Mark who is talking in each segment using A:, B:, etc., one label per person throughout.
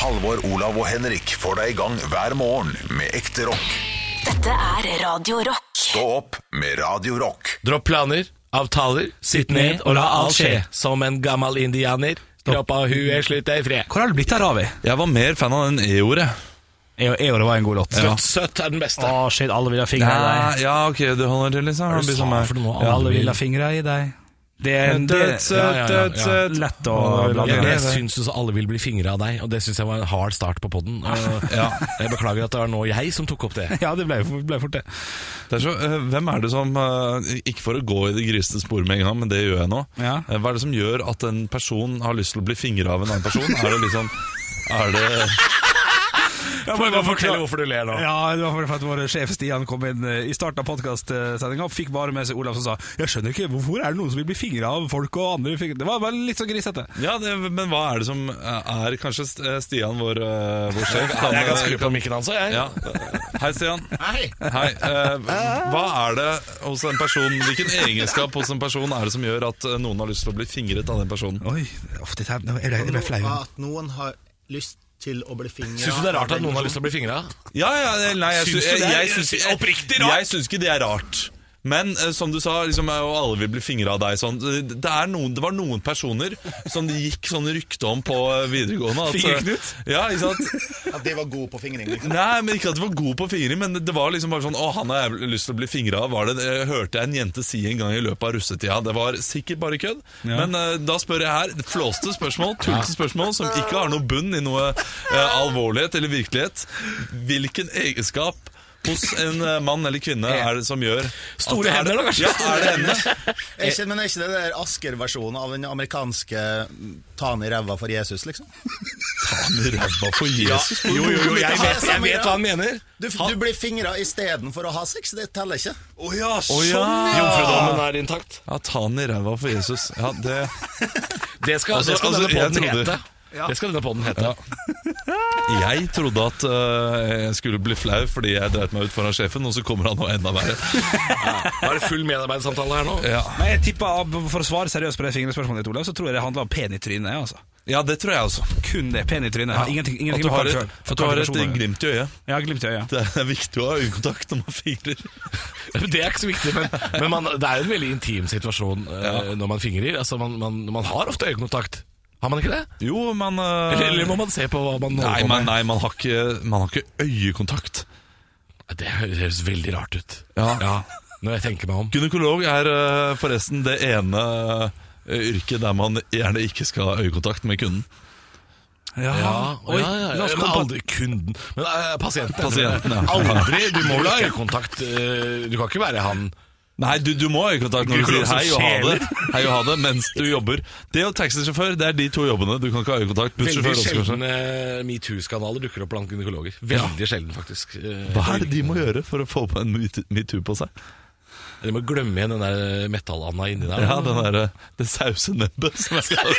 A: Halvor, Olav og Henrik får deg i gang hver morgen med ekte rock.
B: Dette er Radio Rock.
A: Stå opp med Radio Rock.
C: Dropp planer, avtaler, sitt ned og la alt skje. Som en gammel indianer. Kroppa og huet slutter i fred.
D: Hvor har det blitt av Ravi?
E: Jeg var mer fan av den E-ordet.
D: EO, EO det var en god låt.
C: Søtt, søtt er den beste.
D: Å, shit, alle vil ha fingre i
E: Ja,
D: deg.
E: ja, ok, det holder til, liksom. Det blir sånn her.
D: Ja, alle vil ha fingre i deg. Det er en det,
E: Dødt, søtt,
C: ja, ja, ja.
E: dødt, søtt.
D: lett å
C: Jeg,
D: blande
C: jeg,
D: inn.
C: jeg syns jo så alle vil bli fingra av deg, og det syns jeg var en hard start på poden. Jeg beklager at det var nå jeg som tok opp det.
D: Ja, det ble, ble fort det.
E: Det er så, eh, hvem er det som eh, Ikke for å gå i det grisete sporet med en gang, men det gjør jeg nå.
D: Ja.
E: Eh, Hva er det som gjør at en person har lyst til å bli fingra av en annen person? Er det liksom Er det
C: Får jeg bare fortelle hvorfor du ler nå?
D: Ja, det var for at vår sjef Stian kom inn eh, i starten av podkastsendinga og fikk bare med seg Olav som sa Jeg skjønner ikke, hvorfor er det noen som vil bli fingra av folk og andre fingre? Det var bare litt sånn grisete.
E: Ja, det, men hva er det som eh, er Kanskje St- Stian, vår, eh, vår sjef kan-
C: Jeg kan skru på mikken hans, jeg.
E: Ja. Hei, Stian. Hei. eh, hva er det hos en person Hvilken egenskap hos en person er det som gjør at eh, noen har lyst til å bli fingret av den personen?
D: Oi, uff, dette her, nå er det- jeg ble flau.
F: At noen har lyst til å bli fingra
C: Syns du det er rart at noen har lyst til å bli fingra?
E: Ja, ja, nei, jeg
C: Syns du det er oppriktig rart?
E: Jeg syns ikke det er rart. Men eh, som du sa, liksom, eh, og alle vil bli fingra av deg sånn. eh, Det, er noen, det var noen personer som det gikk sånn rykte om på eh, videregående. at, eh,
D: Fingerknut?
E: Ja, ikke sant?
F: At de var gode på fingring? Liksom.
E: Nei, men Ikke at de var gode på fingring, men det var liksom bare sånn Å, han har jeg lyst til å bli fingra av. Var det, jeg hørte jeg en jente si en gang i løpet av russetida. Det var sikkert bare kødd. Men eh, da spør jeg her. Flåste spørsmål, tullete spørsmål, som ikke har noe bunn i noe eh, alvorlighet eller virkelighet. Hvilken egenskap hos en eh, mann eller kvinne er det som gjør at-
C: Store
E: er det-
C: hender, da, kanskje?
E: Ja, er det hendene?
F: Er ikke, men er ikke det der Asker-versjonen av den amerikanske mm, ta han i ræva for Jesus, liksom?
E: Han ræva for Jesus.
C: Jo, jo, jo, jeg vet, jeg vet hva han mener.
F: Du, du blir fingra istedenfor å ha sex, det teller ikke.
E: Å ja,
C: Å
E: sånn
C: ja.
E: ja!
C: Jomfrudommen er intakt.
E: Ja, ta han i ræva for Jesus. Ja, det
C: Det skal,
E: Altså,
C: det skal
E: altså,
C: denne
E: jeg
C: podden
E: trodde-
C: hete. Det skal denne podden hete.
E: Ja. Jeg trodde at øh, jeg skulle bli flau fordi jeg dreit meg ut foran sjefen, og så kommer han og enda verre.
C: Da er det full medarbeidersamtale her nå.
E: Ja.
D: Men jeg tipper, For å svare seriøst på det fingrespørsmålet ditt, Olav, så tror jeg det handler om pen i trynet. altså
E: ja, det tror jeg også.
D: Kun det, pen i trynet. Har Ingenting,
E: At
D: ingenting
E: du
D: med
E: har
D: folk
E: et,
D: selv.
E: at du har et
D: Kvalifikasjoner.
E: glimt i øyet.
D: Ja, glimt i øyet.
E: Det er viktig å ha øyekontakt når man fingrer.
C: Det er ikke så viktig, men, men man, det er jo en veldig intim situasjon eh, når man fingrer. Altså, man, man, man har ofte øyekontakt. Har man ikke det?
E: Jo, man øh,
C: Eller, eller må man se på hva man
E: Nei,
C: holder på
E: man,
C: med?
E: nei man, har ikke, man har ikke øyekontakt.
C: Det høres veldig rart ut.
E: Ja.
C: Når jeg tenker meg om.
E: Gynekolog er øh, forresten det ene øh, yrket der man gjerne ikke skal ha øyekontakt med kunden.
D: Ja,
C: Oi, La oss
D: gå
C: men aldri kunden Men eh, pasienten.
E: Pasienten, ja.
C: Aldri! Du må vel ha øyekontakt. eh, Du kan ikke være han
E: Nei, du, du må ha øyekontakt når du
C: Gynekolog
E: sier
C: som
E: hei og ha
C: skjeler.
E: det Hei og ha det mens du jobber. Det og taxisjåfør det er de to jobbene. Du kan ikke ha øyekontakt.
C: Veldig
E: Bussjåfør også, kanskje.
C: sjeldne metoo-skandaler eh, dukker opp blant gynekologer. Veldig sjelden, faktisk. Eh,
E: Hva er det de må gjøre for å få på en metoo metoo på seg?
C: De må glemme igjen den der metall-Anna inni der.
E: Ja, den der, eh, Det sause nebbet som jeg skal ha.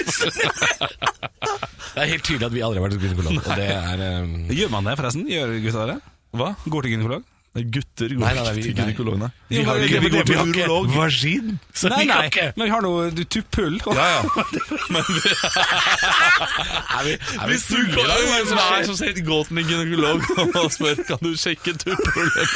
C: Det er helt tydelig at vi aldri har vært hos gynekolog. Og det er um,
D: Gjør man det, forresten? Gjør gutta det?
E: Hva?
D: Går til gynekolog?
E: Gutter går
C: Nei, nei, nei,
E: ikke
C: vi-
E: til
C: nei.
E: gynekologene.
D: Jo, men det- det- det-
C: vi har ikke
E: Vagin?
C: Så
D: Nei,
C: vi kan
D: nei,
C: ikke-
D: men vi har noe du, tupull.
E: Ja, ja.
C: Er vi, er vi
E: Hvis du
C: fulle
E: går
C: i dag?
E: Hva er det som er som sier gå til en gynekolog og spør Kan du sjekke tupphullet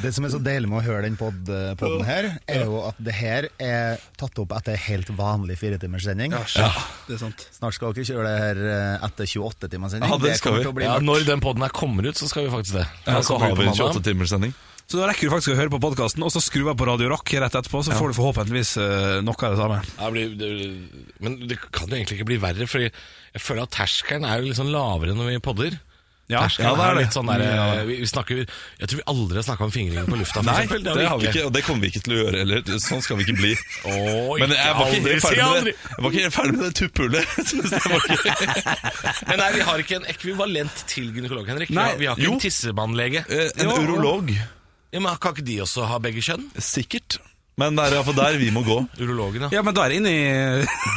F: Det som er så deilig med å høre den pod eh, podden her, er jo at det her er tatt opp etter helt vanlig firetimerssending.
D: Ja, det er sant.
F: Snart skal dere kjøre det her eh, etter 28-timerssending.
E: Ja, det skal
F: kommer
E: vi.
F: til å bli
C: Ja,
F: mørkt.
C: når den poden her kommer ut, så skal vi faktisk det.
E: Ja,
C: Den
E: så
C: kommer
E: har
C: ut
E: vi en
C: på mandag.
E: 28-timerssending.
D: Så da rekker du faktisk å høre på podkasten, og så skru av på Radio Rock rett etterpå, så får du forhåpentligvis eh, noe av det samme.
C: Ja, det blir, det, men det kan jo egentlig ikke bli verre, Fordi jeg føler at terskelen er jo litt sånn lavere når vi podder.
D: Ja,
C: terskelen
D: ja, det er det.
C: litt sånn
E: Mm,
C: der, eh, vi, vi snakker, Jeg tror vi aldri har snakka om fingring på lufta, for
E: Nei,
C: eksempel.
E: det har vi ikke, og det kommer vi ikke til å gjøre heller. Sånn skal vi ikke bli.
C: Å,
E: Men
C: ikke
E: jeg var ikke
C: aldri, si aldri.
E: helt ferdig med det, jeg var ikke helt ferdig med det tupphullet. Jeg synes det var ikke-
C: Men nei, vi har ikke en ekvivalent til gynekolog, Henrik.
E: Nei,
C: vi, har, vi har ikke
E: jo.
C: en tissemannlege.
E: Eh, En
C: Jo.
E: urolog,
C: Ja, men Kan ikke de også ha begge kjønn?
E: sikkert. Men det er iallfall der vi må gå.
C: Urologene.
D: Ja, men da er det inni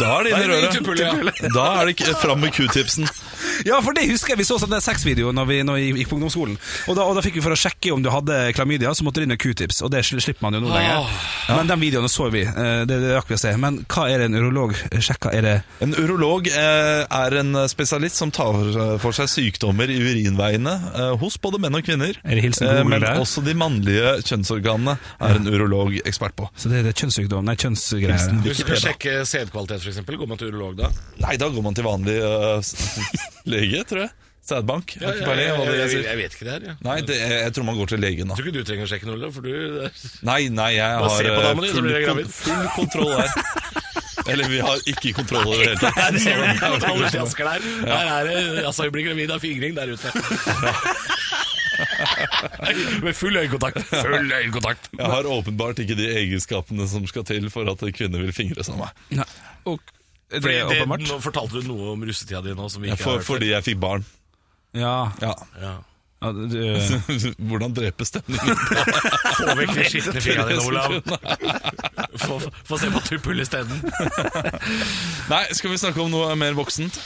E: Da er det
C: Da er det
E: inni
C: tupphullet, ja.
E: røret. Da er det ikke- fram med q-tipsen.
D: Ja, for det husker jeg vi så sånn der sexvideo når vi, når vi gikk på ungdomsskolen. Og da, og da fikk vi for å sjekke om du hadde klamydia, så måtte du inn med q-tips. Og det sl- slipper man jo nå lenger. Men de videoene så vi. eh, Det, det rakk vi å se. Men hva er det en urolog sjekker? Er det
E: En urolog eh, er en spesialist som tar eh, for seg sykdommer i urinveiene eh, hos både menn og kvinner. Eh,
D: Er det hilsen Google
E: men
D: der?
E: også de mannlige kjønnsorganene er en urolog ekspert på.
D: Så det er det kjønnssykdom, nei, kjønnsgreier.
C: Hvis du skal sjekke sædkvalitet, f.eks., går man til urolog da?
E: Nei, da går man til vanlig eh, lege, tror jeg. Sædbank. Har ikke peiling hva det
C: jeg,
E: sier.
C: vet ikke det her. Jeg.
E: Nei, det, jeg tror man går til legen, da.
C: tror ikke du trenger å sjekke noe, for du
E: Nei, nei,
C: Bare
E: jeg har
C: se på
E: eh,
C: damen din, så
E: full,
C: blir jeg
E: kon-
C: gravid.
E: full kontroll der. Eller vi har ikke kontroll over det hele tatt.
C: der. Der er det Altså, vi blir gravid av fingring der ute. Med full øyekontakt. Full øyekontakt.
E: Jeg har åpenbart ikke de egenskapene som skal til for at kvinner vil fingres av meg.
D: Nei, og, er det
C: Fordi det-
D: åpenbart?
C: nå fortalte du noe om russetida di nå som vi
E: Jeg
C: ikke har
E: får,
C: hørt før.
E: fordi jeg fikk barn.
D: Ja.
E: Ja.
C: Ja.
D: ja du,
E: Hvordan drepe stemningen?
C: Få vekk de skitne fingra dine, Olav. Få, få se på Tuppel isteden.
E: Nei, skal vi snakke om noe mer voksent?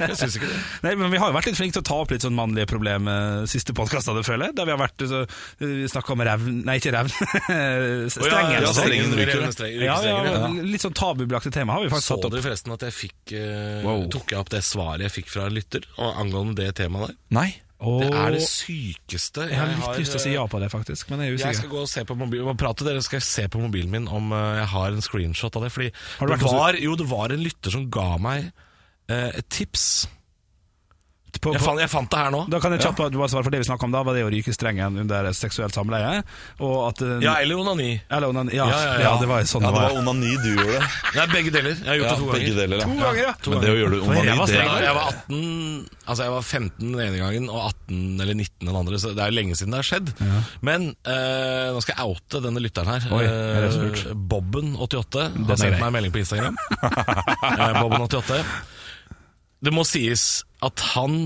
C: Jeg syns ikke det.
D: Nei, men Vi har jo vært litt flinke til å ta opp litt sånn mannlige problemer siste podkast. Der vi har vært så, vi snakket om revn Nei, ikke revn. Strengen.
E: ja,
D: og sånn.
E: strengen. ryker.
D: ja, ja, litt sånn tabubelagte tema har vi faktisk
C: Så
D: tatt opp.
C: dere forresten at jeg fikk eh,
D: Wow.
C: Tok jeg opp det svaret jeg fikk fra en lytter og angående det temaet der?
E: Nei.
D: Og
C: Det er det sykeste eh,
D: jeg har litt lyst til å si ja på det, faktisk, men jeg er
C: Jeg skal
D: usikker.
C: gå og se på mobilen og prate dere skal jeg se på mobilen min om eh, jeg har en screenshot av det. Fordi
D: Har du
C: det
D: vært hos-
C: var, jo, det var en lytter som ga meg eh, et tips.
D: På,
C: Jeg
D: på,
C: fant, jeg fant det her nå.
D: da kan jeg kjapt bare svare for det vi snakket om da, var det å ryke strengen under seksuelt samleie. Og at eh,
C: Ja, eller onani.
D: eller, onan- ja,
C: Ja, ja,
D: ja,
C: ja.
D: det var jo sånn
E: Ja,
D: det
E: det
D: var.
E: var onani du gjorde.
C: Nei, begge deler. Jeg har gjort
E: Ja,
C: det to
E: begge
C: ganger.
E: deler,
D: To
E: ja.
D: ganger, ja.
E: Men det å gjøre det
D: jeg
E: onani,
D: var
E: det
D: streng,
E: er
C: Jeg var 18 Altså jeg var 15 den ene gangen og 18 eller 19 den andre, så det er jo lenge siden det har skjedd. Men eh, nå skal jeg oute denne lytteren her.
D: Oi, er det så lurt?
C: Eh, Bobben88
D: er
C: har sendt
D: grei.
C: meg en melding på Instagram. Eh, Bobben88 Det må sies at han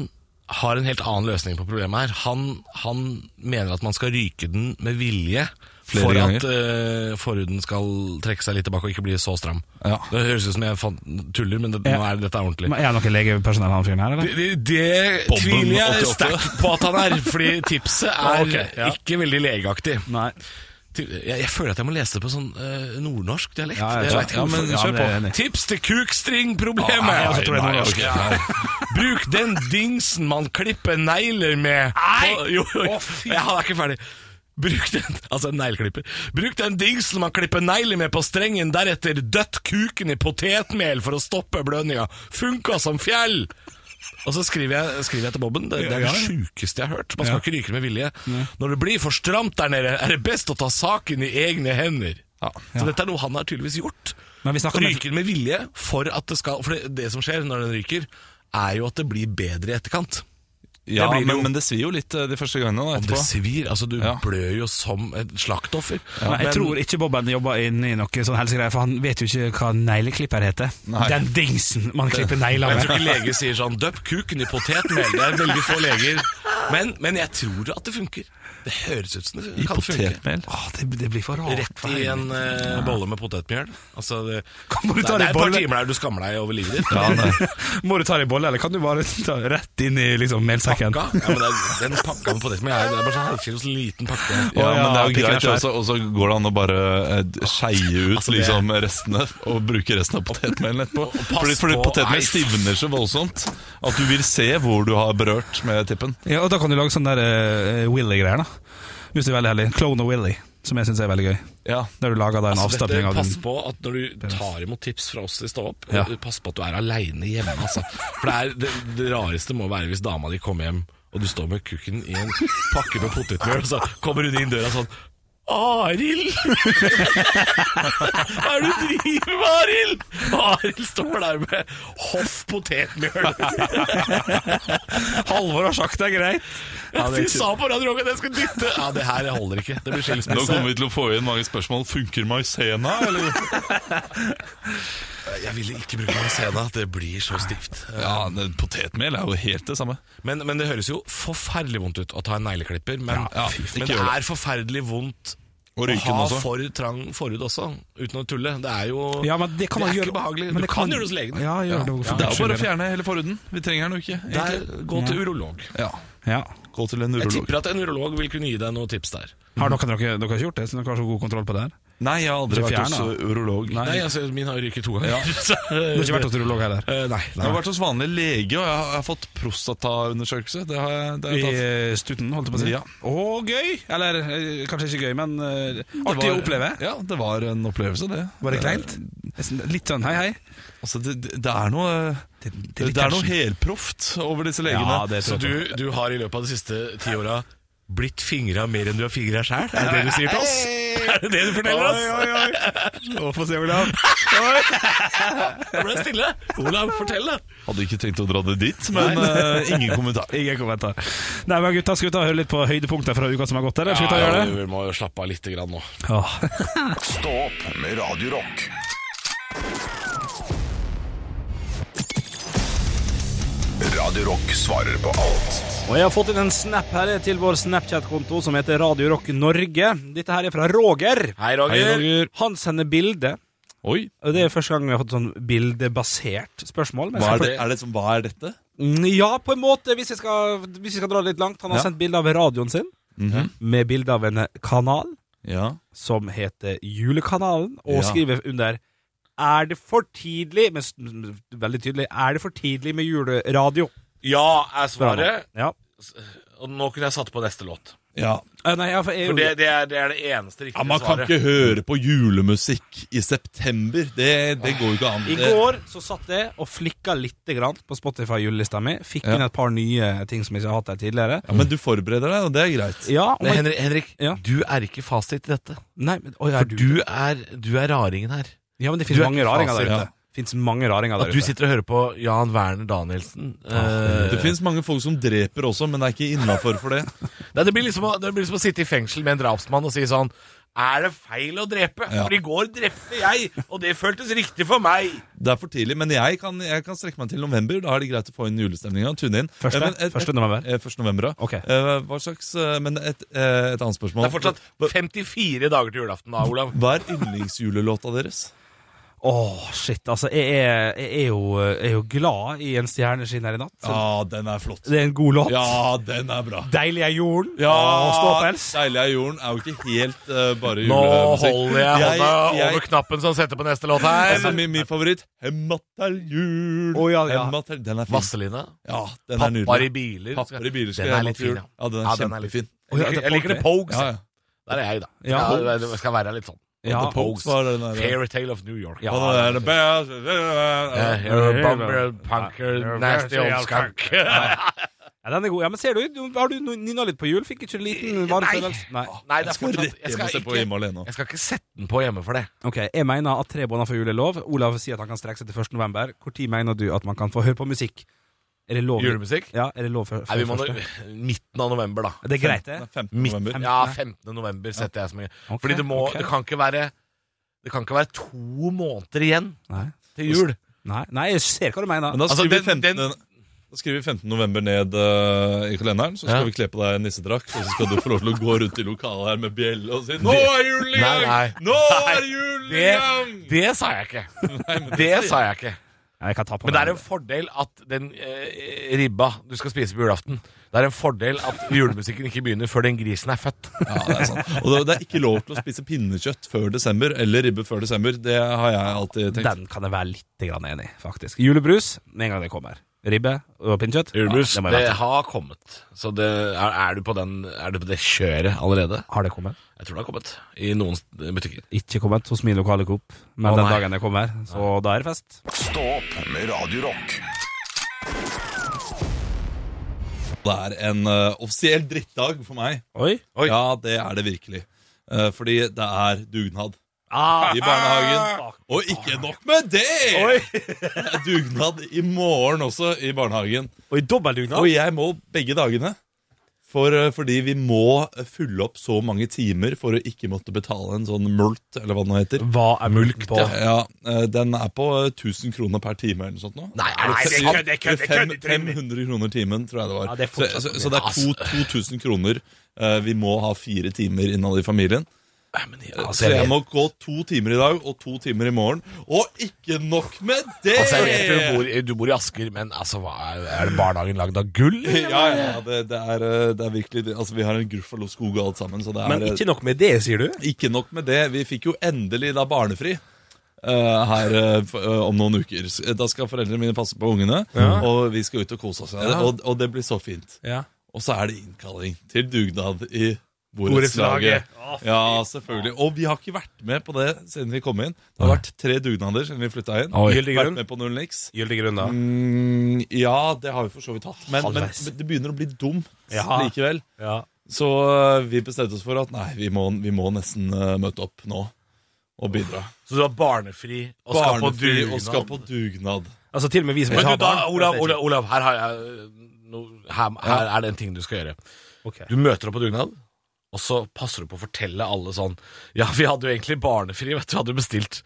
C: har en helt annen løsning på problemet her. Han, han mener at man skal ryke den med vilje.
E: Flere
C: for at
E: ganger.
C: eh, forhuden skal trekke seg litt tilbake og ikke bli så stram.
E: Ja.
C: Det høres ut som jeg fant, tuller, men det, nå er, dette er ordentlig.
D: Men Er han noe legepersonell, han fyren her, eller?
C: Det, det, det
E: Bobben
C: tviler jeg
E: 88.
C: sterkt på at han er, fordi tipset er
D: Ok, ja.
C: ikke veldig legeaktig.
D: Nei.
C: Ti- Jeg, jeg føler at jeg må lese det på sånn eh, nordnorsk dialekt.
D: Ja, ja,
C: jeg
D: ja.
C: vet ikke
D: Ja, men
C: hvorfor.
D: kjør på.
C: det er enig. Tips til kukstringproblemet!
D: Ah, nei, jeg tror det er
C: Nei,
D: nordnorsk.
C: ok, nei. Bruk den dingsen man klipper negler med. Nei! Jo, jo, jo. Jeg er ikke ferdig. Bruk den Altså en negleklipper. Bruk den dingsen man klipper negler med på strengen, deretter døtt kuken i potetmel for å stoppe blødninga. Funka som fjell! Og så skriver jeg, skriver jeg til Bobben. Det, det er det sjukeste jeg har hørt. Man skal ikke ryke det med vilje. Når det blir for stramt der nede, er det best å ta saken i egne hender. Så dette er noe han har tydeligvis gjort.
D: Men vi snakker om-
C: Ryker den med vilje for at det skal For det, det som skjer når den ryker, er jo at det blir bedre i etterkant.
E: Ja,
C: Det blir
E: men,
C: jo-
E: men det svir jo litt eh, de første gangene da,
C: Om det
E: etterpå.
C: svir. Altså, du
E: Ja.
C: blør jo som et slaktoffer.
D: Nei, jeg tror ikke Bobben jobber inn i noe sånn helsegreier, for han vet jo ikke hva negleklipper heter.
E: Nei.
D: Den dingsen man klipper negler
C: Jeg
D: med.
C: tror ikke leger sier sånn 'døpp kuken i potetmel'. Det er veldig få leger. Men, men jeg tror at det funker. Det høres ut som det
E: I
C: kan funke.
E: potetmel.
D: Åh, det, det blir for rart.
C: Rett i en eh, bolle med potetmjøl. Altså, det,
D: Kan du
C: det,
D: ta
C: det er
D: det i
C: et par
D: bolle?
C: timer der du skammer deg over livet ditt.
E: Ja, nei.
D: Må du ta det i bolle, eller kan du bare ta rett inn i liksom, melsekken?
C: Pakka? Ja, men det er, den pakka med potetmel er, det er bare sånn halvkilos liten pakke.
E: Ja,
D: Å, ja,
E: men det er jo
D: pikken er
E: greit,
D: svær.
E: også, og så går det an å bare eh, skeie ut
C: Altså, det-
E: liksom, restene og bruke resten av potetmelen etterpå.
C: pass
E: Fordi, fordi
C: på- nei,
E: potetmel
C: f-
E: stivner så voldsomt at du vil se hvor du har berørt med tippen.
D: Ja, og da kan du lage sånne der, eh, Willy-greier, da. Hvis du er veldig heldig. Clone of Willy, som jeg syns er veldig gøy.
E: Ja,
D: Der du lager da en
C: Altså, dette,
D: avstabning av
C: pass
D: den.
C: på at når du tar imot tips fra oss i Stå opp,
D: Ja.
C: eh, pass på at du er aleine hjemme. Altså. For det, er, det, det rareste må være hvis dama di kommer hjem, og du står med kukken i en pakke med potetmjøl, og så kommer hun inn døra sånn Arild! Hva er det du driver med, Arild? Og Arild står der med hoff potetmjøl.
D: Halvor har sagt det er greit. Ja,
C: Du
D: det er
C: sa på Radio Rock at jeg skulle dytte! Ja, det her holder ikke. Det blir
E: Nå
C: skilsmisse.
E: kommer vi til å få inn mange spørsmål. Funker maisena, eller?
C: Jeg ville ikke bruke Mancena. Det blir så stivt.
E: Ja, det- Potetmel er jo helt det samme.
C: Men, men det høres jo forferdelig vondt ut å ta en negleklipper. Men,
E: Ja, ja,
C: men
E: ikke
C: det
E: gjør det.
C: er forferdelig vondt Å
E: Og røyken
C: ha
E: også.
C: for trang forhud også, uten å tulle. Det er jo
D: Ja, men det kan man
C: er
D: gjøre
C: ikke behagelig.
D: men
C: du kan, gjøre det hos legen.
D: Ja, gjør det,
E: Det er jo bare å fjerne hele forhuden. Vi trenger den jo ikke.
C: Det er-
E: egentlig.
C: gå til urolog.
E: Ja.
D: ja.
E: Gå til en
C: Jeg
E: urolog.
C: tipper at en urolog vil kunne gi deg noen tips der.
D: Har dere, dere, dere har ikke gjort det, så dere har så god kontroll på det her?
E: Nei, jeg har aldri
D: Du
E: vært hos
D: fjerner,
E: uh, urolog.
D: Nei.
C: Nei, altså, min har ryket to ganger. så,
D: Du har ikke vært hos urolog heller?
C: Eh, nei.
E: Jeg har vært hos vanlig lege, og jeg har, jeg har fått prostataundersøkelse. Det har jeg, det
D: I
E: har jeg tatt.
D: eh, stuten, holdt jeg på å si?
E: Ja.
D: Å, gøy! Eller eh, kanskje ikke gøy, men eh,
E: Det
D: artig å
E: var-
D: oppleve.
E: Ja, det var en opplevelse, det. Eh,
D: Var det kleint? Nesten Litt sånn hei, hei.
E: Altså, det, det- det er noe Det,
D: det er litt
E: er noe
D: action.
E: helproft over disse legene.
C: så du, du har i løpet av de siste ti åra blitt fingra mer enn du har fingra sjæl? Er det det du sier til oss? Er det det du forteller oss?
D: Oi, oi, oi. Å, Få se, Olav.
C: Da ble det stille. Olav, fortell, da.
E: Hadde ikke tenkt å dra det dit, men eh, ingen kommentar.
D: Ingen kommentar. Nei, men gutta, skal vi ta og høre litt på høydepunkter fra uka som har gått? Eller? Skal vi ta og gjøre det?
C: vi må jo slappe av litt grann nå.
D: Åh.
A: Stå opp med Radio Rock. Radio Rock svarer på alt.
D: Og jeg har fått inn en snap her til vår Snapchat-konto som heter Radio Rock Norge. Dette her er fra Roger.
C: Hei, Roger.
D: Han sender bilde.
E: Oi,
D: Og Det er første gang vi har fått sånn bildebasert spørsmål. men jeg
E: hva
D: skal
E: er, det, er det som, hva er dette?
D: Mm, Ja, på en måte, hvis jeg skal, hvis jeg skal dra det litt langt. Han har
E: Ja. Mhm.
D: sendt bilde av radioen sin, med bilde av en kanal
E: Ja.
D: som heter Julekanalen, og
E: Ja.
D: skriver under Er det for tidlig Men s- m- veldig tydelig Er det for tidlig med juleradio?
C: Ja, er
D: Spør han om.
C: svaret.
D: Ja.
C: Og nå kunne jeg satt på neste låt.
E: ja.
D: Eh, nei, ja, for jeg,
C: For det, det, er, det er det eneste riktige
E: Man kan
C: svaret.
E: ikke høre på julemusikk i september. Det, det går jo ikke an.
D: I går så satt jeg og flikka litt grann på Spotify-julelista mi. Fikk
E: Ja.
D: inn et par nye ting som jeg ikke har hatt der tidligere.
E: Ja, men du forbereder deg, og det er greit.
D: Ja,
C: Nei,
D: men,
C: Henrik, Henrik
D: Ja.
C: du er ikke fasit i dette.
D: nei, men, oi, er
C: For
D: du,
C: du er, du er raringen her.
D: ja, men det
C: du
D: finnes
C: er
D: mange
C: ikke
D: raringer der
C: fasit,
D: ute.
E: ja.
D: Finnes mange raringer
C: At
D: der
C: du
D: ute.
C: sitter og hører på Jan Werner Danielsen. eh,
E: Det fins mange folk som dreper også, men det er ikke innafor for det.
C: Nei, det, blir liksom, å- det blir liksom å sitte i fengsel med en drapsmann og si sånn Er det feil å drepe?
E: Ja.
C: For i går drepte jeg, og det føltes riktig for meg.
E: Det er for tidlig, men jeg kan, jeg kan strekke meg til november. Da er det greit å få inn julestemninga. Tune inn.
D: Første?
E: Eh, men et-
D: Første november?
E: Eh, første november, ja.
D: Ok.
E: Eh, hva slags eh, Men et, eh, et annet spørsmål.
C: Det er fortsatt 54 dager til julaften da, Olav.
E: Hva er yndlingsjulelåta deres?
D: Åh, shit, altså jeg er, jeg, er jo, jeg er jo glad i en stjerneskinn her i natt
E: Ja, den er flott.
D: Det er en god låt
E: Sånn. Ja, den er bra.
D: Deilig er jorden
E: Ja,
D: Åh, ståpels
E: Deilig er jorden er jo ikke helt eh, bare
C: Nå
E: julemusikk.
C: holder jeg hånda
E: jeg-
C: over knappen som setter på neste låt her.
E: altså, min, min favoritt Hemma til jul.
D: Å, ja, ja.
E: Hemma til, den er fin.
C: Vasselina.
E: Ja, den er nydelig.
C: Pappaer i biler.
E: Pappaer i biler skal
C: Den
E: hjem
C: er litt
E: til jul.
C: fin, ja.
E: Ja, den er kjempefin.
C: Jeg liker, jeg liker det Pogues.
E: Ja, ja.
C: Der er jeg, da.
D: Ja.
C: Skal, jeg skal være litt sånn.
D: Ja.
C: The Pogues.
E: Hva er den der?
C: Fairytale of New York.
E: Ja, det er det beste
C: Eh, you're a bummer, punker, nasty old skunk.
D: ja, Den er god Ja, men ser du, du- har du no- nynnet litt på jul? Fikk ikke en liten varm
C: Nei.
D: følelse?
C: Nei,
D: Nei
C: det
E: Jeg
C: er
E: skal
C: fortsatt
E: rett
C: Jeg
E: hjem og
C: skal
E: se på Hjemme
C: ikke,
E: alene. nå.
C: jeg skal ikke sette den på hjemme for det.
D: Ok, jeg mener at tre måneder for jul er lov Olav sier at han kan strekke seg til 1. november Hvor tid mener du at man kan få høre på musikk? Er det lov?
C: Julemusikk?
D: Ja, er det lov for, for
C: Nei, vi må nå
D: første?
C: Midten av november, da.
D: Det er greit det
E: Den er 15.
C: Midt-
E: november.
C: Ja, 15. november setter jeg som en
D: Ok,
C: Fordi det må
D: ok.
C: Det kan ikke være Det kan ikke være to måneder igjen
D: Nei
C: til jul.
D: Nei, nei, jeg ser hva du mener
E: Men da
C: Altså,
E: skriver,
C: den-
E: vi 15, da skriver vi 15. november ned eh, i kalenderen, så
C: Ja.
E: skal vi kle på deg nissedrakt, og så skal du få lov til å gå rundt i lokalet her med bjelle og si 'Nå er julen i
C: Nei, nei.
E: gang! Nå er julen i
C: Det,
E: gang!'
C: det sa jeg ikke. Det sa jeg ikke.
D: Nei, Jeg kan ta på
C: Men det er
D: meg
C: en fordel at den eh, ribba du skal spise på julaften Det er en fordel at julemusikken ikke begynner før den grisen er født.
E: Ja, det er sant. Og det- det er ikke lov til å spise pinnekjøtt før desember, eller ribbe før desember. Det har jeg alltid tenkt.
D: Den kan jeg være litt grann enig i, faktisk. Julebrus med en gang det kommer. Ribbe og pinnekjøtt.
C: Julebrus,
D: Ja, det må
C: det,
D: jeg vente.
C: har kommet. Så det, er, er, du på den, er du på det kjøret allerede?
D: Har det kommet?
C: Jeg tror det har kommet i noen s- butikker.
D: Ikke kommet hos min lokale Coop, men
C: Å,
D: den
C: nei.
D: dagen det kommer, så da er det fest.
A: Stå opp med Radio Rock.
E: Det er en eh, offisiell drittdag for meg.
D: Oi.
E: Ja, det er det virkelig. Eh, fordi det er dugnad
D: Ah,
E: i barnehagen. Og ikke nok med det!
D: Oi.
E: Det er dugnad i morgen også i barnehagen.
D: Og i dobbeltdugnad.
E: Og jeg må begge dagene. For, eh, fordi vi må fylle opp så mange timer for å ikke måtte betale en sånn mulkt, eller hva det nå heter.
D: Hva er mulk på?
E: Ja, eh, Den er på eh, 1000 kroner per time eller noe sånt nå.
C: Nei, er det
E: Eller
C: sant?
E: fem- 500 kroner timen, tror jeg det var.
D: Ja, det er
E: så,
D: fortsatt
E: så,
D: mye.
E: så det er to- 2000 kroner. eh, Vi må ha fire timer innad i familien.
C: Nei, men jeg,
D: Altså,
E: Så jeg
D: vet-
E: må gå to timer i dag og to timer i morgen. Og ikke nok med det!
C: altså, jeg vet du bor, du bor i Asker, men altså, hva er, er det barnehagen lagd av gull? eller?
E: Ja, ja, det, det, er, eh, det er virkelig det. Altså, Vi har en Gruffalo-skog og alt sammen. Så det er,
G: Men
E: eh,
G: ikke nok med det, sier du?
E: Ikke nok med det, vi fikk jo endelig da barnefri. eh, her eh, f- eh, om noen uker. S- Da skal foreldrene mine passe på ungene, og vi skal ut og kose oss. Og, og det blir så fint.
G: Ja.
E: Og så er det innkalling til dugnad i borettslaget. Ja, selvfølgelig. Og vi har ikke vært med på det siden vi kom inn. Det har vært tre dugnader siden vi flytta inn.
G: Oi. Gyldig grunn.
E: Vært med på null niks.
G: Gyldig grunn, da.
E: Mm, ja, det har vi for så vidt hatt, men, men
G: Halvveis.
E: det begynner å bli dumt
G: Ja.
E: likevel.
G: Ja.
E: Så øh, vi bestemte oss for at nei, vi må, vi må nesten øh, møte opp nå og bidra.
C: Så du har barnefri og skal på
E: Barnefri
C: dugnad.
E: og skal på dugnad.
G: Altså, til og med vi som
C: Men
G: ikke
C: du
G: har
C: da,
G: barn.
C: Olav, Olav, Olav her, har jeg, no, her, her er det en ting du skal gjøre.
G: Ok.
C: Du møter opp på dugnad, og så passer du på å fortelle alle sånn Ja, vi hadde jo egentlig barnefri, vet du, hadde jo bestilt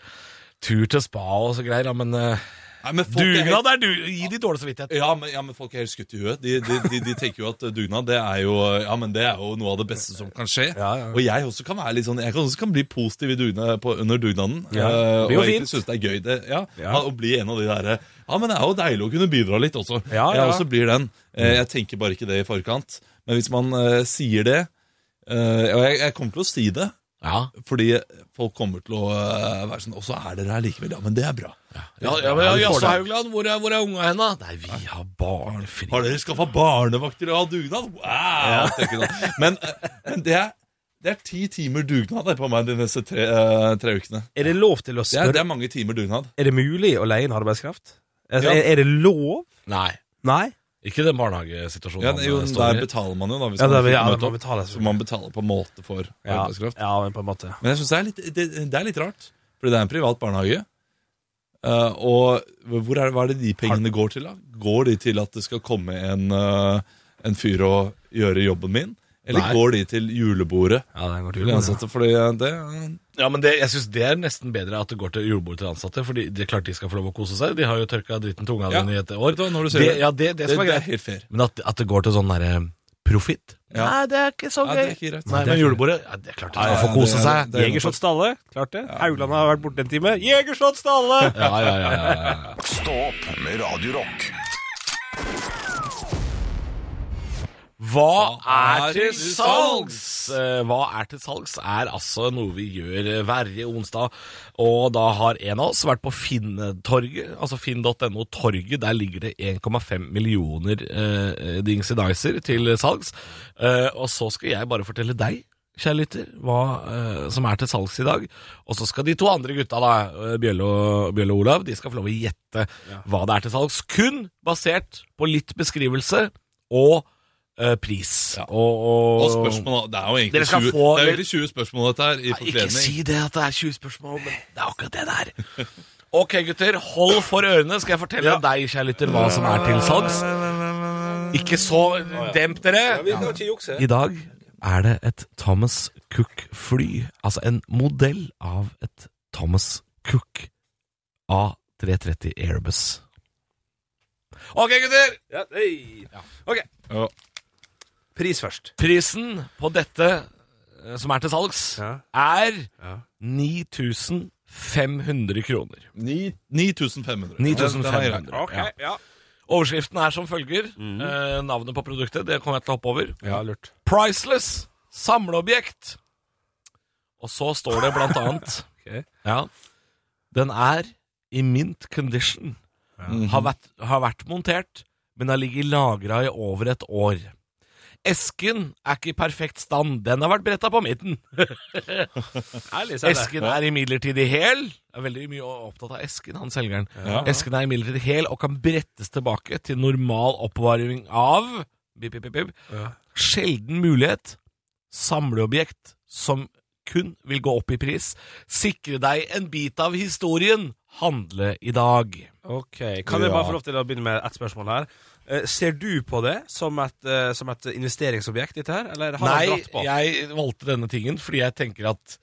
C: tur til spa og så greier, ja, men eh,
E: Nei, men folk er helt-
C: dugnad er du Gi de dårlig samvittighet.
E: Ja men, ja, men folk er helt skutt i huet. De, de, de, de tenker jo at øh, dugnad det er jo, øh, ja, men det er jo noe av det beste som kan skje. Og jeg også kan være litt sånn Jeg kan også kan bli positiv i dugna- på, under dugnaden. øh,
G: Det blir jo
E: og
G: fint.
E: egentlig synes det er gøy. Det, ja,
G: Ja.
E: Å bli en av de derre Ja, men det er jo deilig å kunne bidra litt også.
G: Ja, ja. Mm.
E: Jeg også blir den. Eh, Jeg tenker bare ikke det i forkant. Men hvis man eh, sier det eh, Og jeg, jeg kommer til å si det,
C: Ja,
E: fordi folk kommer til å eh, være sånn Og så er dere her likevel, ja, men det er bra.
C: ja, ja, men, Jaså Haugland, hvor er, hvor er unga hen, da? Nei, vi har barnefri.
E: Har dere skaffa barnevakt til å ha dugnad? Wow! tenker jeg da. Men, eh, men det, er, det er ti timer dugnad det, på meg de neste tre, eh, tre ukene.
G: Er det lov til å
E: Det er, det
G: spørre
E: er mange timer dugnad.
G: Er det mulig å leie inn arbeidskraft? Altså,
E: Ja.
G: er, er det lov?
C: Nei,
G: Nei?
C: ikke den barnehagesituasjonen
E: Ja,
C: han,
E: jo,
C: eh, står
E: der
C: i.
E: betaler man jo, da. Hvis
G: Ja, det,
E: man
G: ja,
E: ikke
G: det
E: møter
G: må
E: opp.
G: betales.
E: Så man betaler på en måte for
G: Ja,
E: arbeidskraft.
G: ja, men på en måte.
E: Men jeg synes det, er litt- det, det er litt rart, fordi det er en privat barnehage. Eh, og hvor er, det- hva er det de pengene går til, da? Går de til at det skal komme en, eh, en fyr og gjøre jobben min? Eller
C: Nei.
E: går de til julebordet?
G: Ja, den går
E: Til de ansatte, fordi det eh,
C: Ja, men det, jeg synes det er nesten bedre at det går til julebordet til ansatte, Fordi det er klart de skal få lov å kose seg. De har jo tørka dritten tunga
E: Ja.
C: dine i et år.
E: du hva, når du sier
C: det,
E: det.
C: ja, det, det
E: det,
C: skal
E: det
C: være
E: er
C: greit.
E: helt fair.
C: Men at, at det går til sånn derre profitt?
E: Ja.
C: Nei, det er ikke så
E: Ja,
C: gøy.
E: det er ikke greit.
C: Nei,
E: Det er
C: men
E: ikke
C: julebordet ja, Det er klart de
E: Ja,
C: skal
E: ja,
C: få kose
E: det er-
C: seg.
E: det er-
G: Jegershot Stalle, klart det. Haugland har vært borte en time. Jegershot Stalle!
C: Ja, ja, ja, ja, ja, ja.
A: Stå opp med Radio Rock.
C: Hva
E: Hva
C: er til salgs? Eh, Hva er til salgs er altså noe vi gjør eh, hver onsdag. Og da har en av oss vært på Finn-torget, altså finn.no torget. Der ligger det 1,5 millioner eh, dingsi dicer til salgs. Eh, og så skal jeg bare fortelle deg, kjære lytter, hva eh, som er til salgs i dag. Og så skal de to andre gutta, da, eh, Bjølle og, Bjølle og Olav, de skal få lov å gjette hva det er til salgs. Kun basert på litt beskrivelse og eh, pris. Og, og,
E: Og spørsmål, da. det er jo
C: Dere
E: egentlig
C: skal
E: 20,
C: få-
E: det er jo egentlig 20 spørsmål dette her i
C: Nei, Ikke
E: forkledning.
C: si det at det er 20 spørsmål, men det er akkurat det det er. Ok, gutter, hold for ørene. Skal jeg fortelle deg, kjære lytter, hva som er til salgs. Ikke så demp dere.
G: Vi kan ikke jukse.
C: I dag er det et Thomas Cook-fly, altså en modell av et Thomas Cook A330 Airbus. Ok, gutter!
G: Ja, hei. Ok.
E: Ja.
G: Pris først.
C: Prisen på dette eh, som er til salgs,
G: Ja.
C: er
G: Ja.
C: 9500 kroner.
E: Ni- 9500. Den- den er
C: 9500.
E: grei.
C: Ja. Overskriften er som følger. Eh, navnet på produktet det kommer jeg til å hoppe over.
G: Mm. Ja, lurt.
C: Priceless samleobjekt. Og så står det blant annet
G: Ok.
C: ja, Den er i mint condition. Har, vært, har vært montert, men har ligget lagra i over et år. Esken er ikke i perfekt stand. Den har vært bretta på midten.
G: Ærlig, så er det.
C: Esken er imidlertid hel. Jeg er veldig mye opptatt av esken, han selgeren. Esken er imidlertid hel og kan brettes tilbake til normal oppbevaring av bip, bip, bip, bip,
G: Ja.
C: sjelden mulighet, samleobjekt som kun vil gå opp i pris. Sikre deg en bit av historien. Handle i dag.
G: Ok, Kan jeg bare få lov til å begynne med ett spørsmål her? Eh, ser du på det som et, eh, som et investeringsobjekt, dette her? Eller har du
C: Nei,
G: dratt på?
C: jeg valgte denne tingen fordi jeg tenker at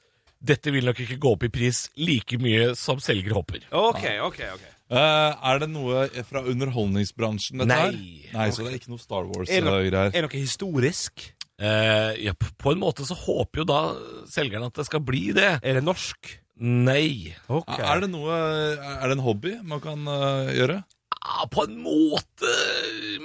C: dette vil nok ikke gå opp i pris like mye som selger håper.
G: Ok, ok, ok.
E: Eh, er det noe fra underholdningsbransjen? Dette
C: Nei.
E: Her? Nei, så det er ikke noe Star eh,
G: Er det, noe,
E: Wars-greier.
G: er det noe historisk?
C: Eh, ja, p- på en måte så håper jo da selgeren at det skal bli det.
G: Er det norsk?
C: Nei.
G: Ok.
E: Er det noe Er det en hobby man kan eh, gjøre?
C: Ja, på en måte,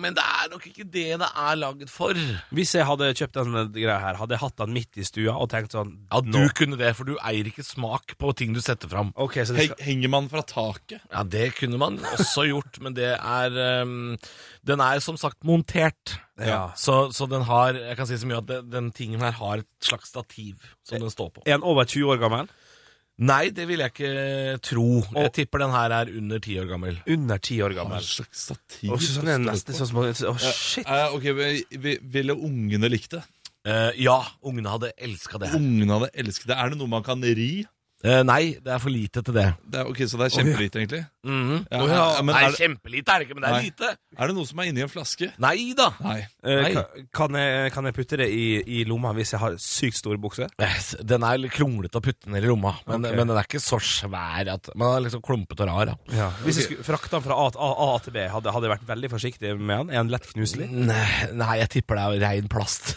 C: men det er nok ikke det det er lagd for.
G: Hvis jeg hadde kjøpt denne greia her, hadde jeg hatt den midt i stua og tenkt sånn
C: Ja, du
G: nå.
C: kunne det, for du eier ikke smak på ting du setter fram.
G: Ok, så det
E: Heng-
G: skal...
E: Henger man fra taket?
C: Ja, det kunne man også gjort, men det er ehm, Den er som sagt montert.
G: Ja.
C: Så, så den har Jeg kan si så mye at den, den tingen her har et slags stativ som den står på.
G: Er han over 20 år gammel?
C: Nei, det vil jeg ikke tro. Jeg tipper den her er under ti år gammel.
G: Under 10 år gammel.
E: slags stativ?
G: Åh, sånn er det nesten sånn som Åh, shit.
E: Eh, ok, vi, vi, Ville ungene likt det?
C: Eh, ja, ungene hadde elska det. her.
E: Ungene hadde elsket det. Er det noe man kan ri?
C: Eh, nei, det er for lite til det.
E: Det er, ok, Så det er kjempelite, egentlig?
C: Mhm.
E: Ja, ja, men
C: nei,
E: er det-
C: kjempelite er det ikke, men det er
E: Nei.
C: lite.
E: Er det noe som er inni en flaske?
C: Nei da.
E: Nei.
G: Eh,
C: Nei.
G: ka- kan, jeg, kan jeg putte det i, i lomma hvis jeg har sykt store bukser?
C: Eh, Den er litt kronglete å putte den ned i lomma, men,
G: Ok.
C: men den er ikke så svær at Man er liksom klumpete og rar. Ja.
G: Hvis jeg skulle frakte den fra A, A, A til B, hadde, hadde jeg vært veldig forsiktig med den? Er den lett knuselig?
C: Mm. Nei, nei, jeg tipper det er rein plast.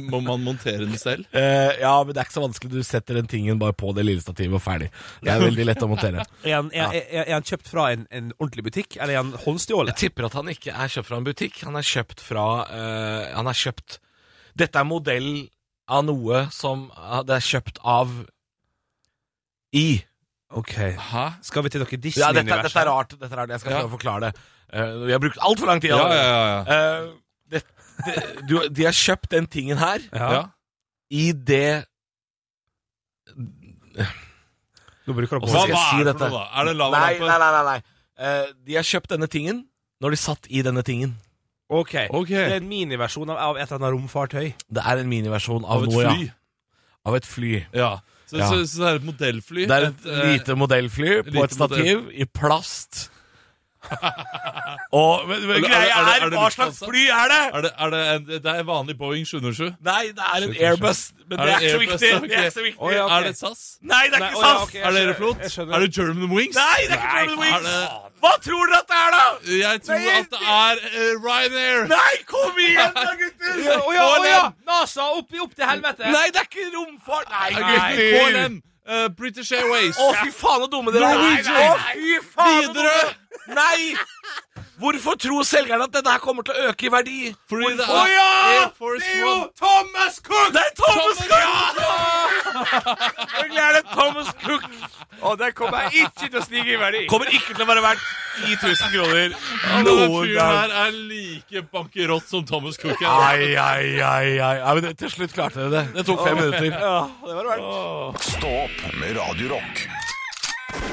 E: Må man montere den selv?
C: Eh, ja, men det er ikke så vanskelig. Du setter den tingen bare på det lille stativet og ferdig. Det er veldig lett å montere.
G: Er den, er, er, er den kjøpt fra en, en ordentlig butikk, eller er den
C: Jeg
G: håndstjålet?
C: tipper at han ikke er kjøpt fra en butikk. Han er kjøpt fra eh, Han er kjøpt Dette er modell av noe som eh, det er kjøpt av i.
G: Ok.
E: Hæ?
G: Skal vi til dere
C: Ja, dette,
G: Disney-universet?
C: dette er rart. Dette er rart. Jeg skal
E: Ja.
C: prøve å forklare det. Eh, vi har brukt altfor lang tid.
E: Ja,
C: allerede.
E: ja, ja. ja.
C: Eh, det, det, du, de har kjøpt den tingen her
G: Ja.
E: ja.
C: i det
G: Nå bruker dere
C: Hva-
G: på
C: skal jeg si
E: er det
C: dette?
E: for noe, da? Er det lava
C: Nei, nei,
E: lampe?
C: nei. nei, nei. Eh, de har kjøpt denne tingen når de satt i denne tingen.
G: Ok.
E: Ok.
G: Det er en miniversjon av, av et eller annet romfartøy.
C: Det er en miniversjon av,
E: Av et
C: noe,
E: fly?
C: ja. Av et fly.
E: Ja. Så,
C: Ja.
E: Så, så det er et modellfly?
C: Det er et
E: eh,
C: lite modellfly på
E: lite
C: et stativ i plast. Og men, men,
E: Er det-
C: greia
E: er det- er
C: er,
E: det
C: hva
E: luftpasta?
C: slags fly er det?
E: Er det, er det, en, det er en vanlig Boeing 707?
C: Nei, det er en
E: Skjønner,
C: Airbus, men det er ikke så
E: Airbus,
C: viktig.
E: ja, ok.
C: Det er ikke så viktig.
G: Å, ja, ok.
E: Er det SAS?
C: Nei, det er
G: Nei, å,
C: ikke
G: ja,
C: SAS!
G: ok, jeg
E: Er
G: skjønner, jeg
E: det Aeroflot?
G: skjønner.
E: Er det German Wings?
C: Nei, det er ikke Jordan
E: er
C: Wings!
E: det-
C: Hva tror dere at det er, da?
E: Jeg tror
C: Nei,
E: at det er eh, Ryanair!
C: Nei, kom igjen da, gutter!
G: Å ja, å ja!
E: ja!
G: NASA, opp, til helvete!
C: Nei, det er ikke romfart. Nei,
E: Eh,
C: gutter.
E: KLM! eh, British Airways!
C: Å, fy faen så dumme dere er.
E: Norwegian.
C: Å, fy faen så
E: Widerøe.
C: dumme. Nei! Hvorfor tror selgerne at denne her kommer til å øke i verdi?
E: Fordi det
C: Hvorfor?
E: er Air Force
C: Det er jo
E: One.
C: Thomas Cook! Det er Thomas Cook! Selvfølgelig er det Thomas Cook. Og den kommer ikke til å stige i verdi. Kommer ikke til å være verdt 10 000 kroner
E: Denne
C: noen
E: fyren
C: gang.
E: her er like bankerott som Thomas Cook er.
C: Ai, ai, ai, ai. Ja, men det- til slutt klarte dere det. Det tok fem minutter.
A: Stå opp med Radio Rock.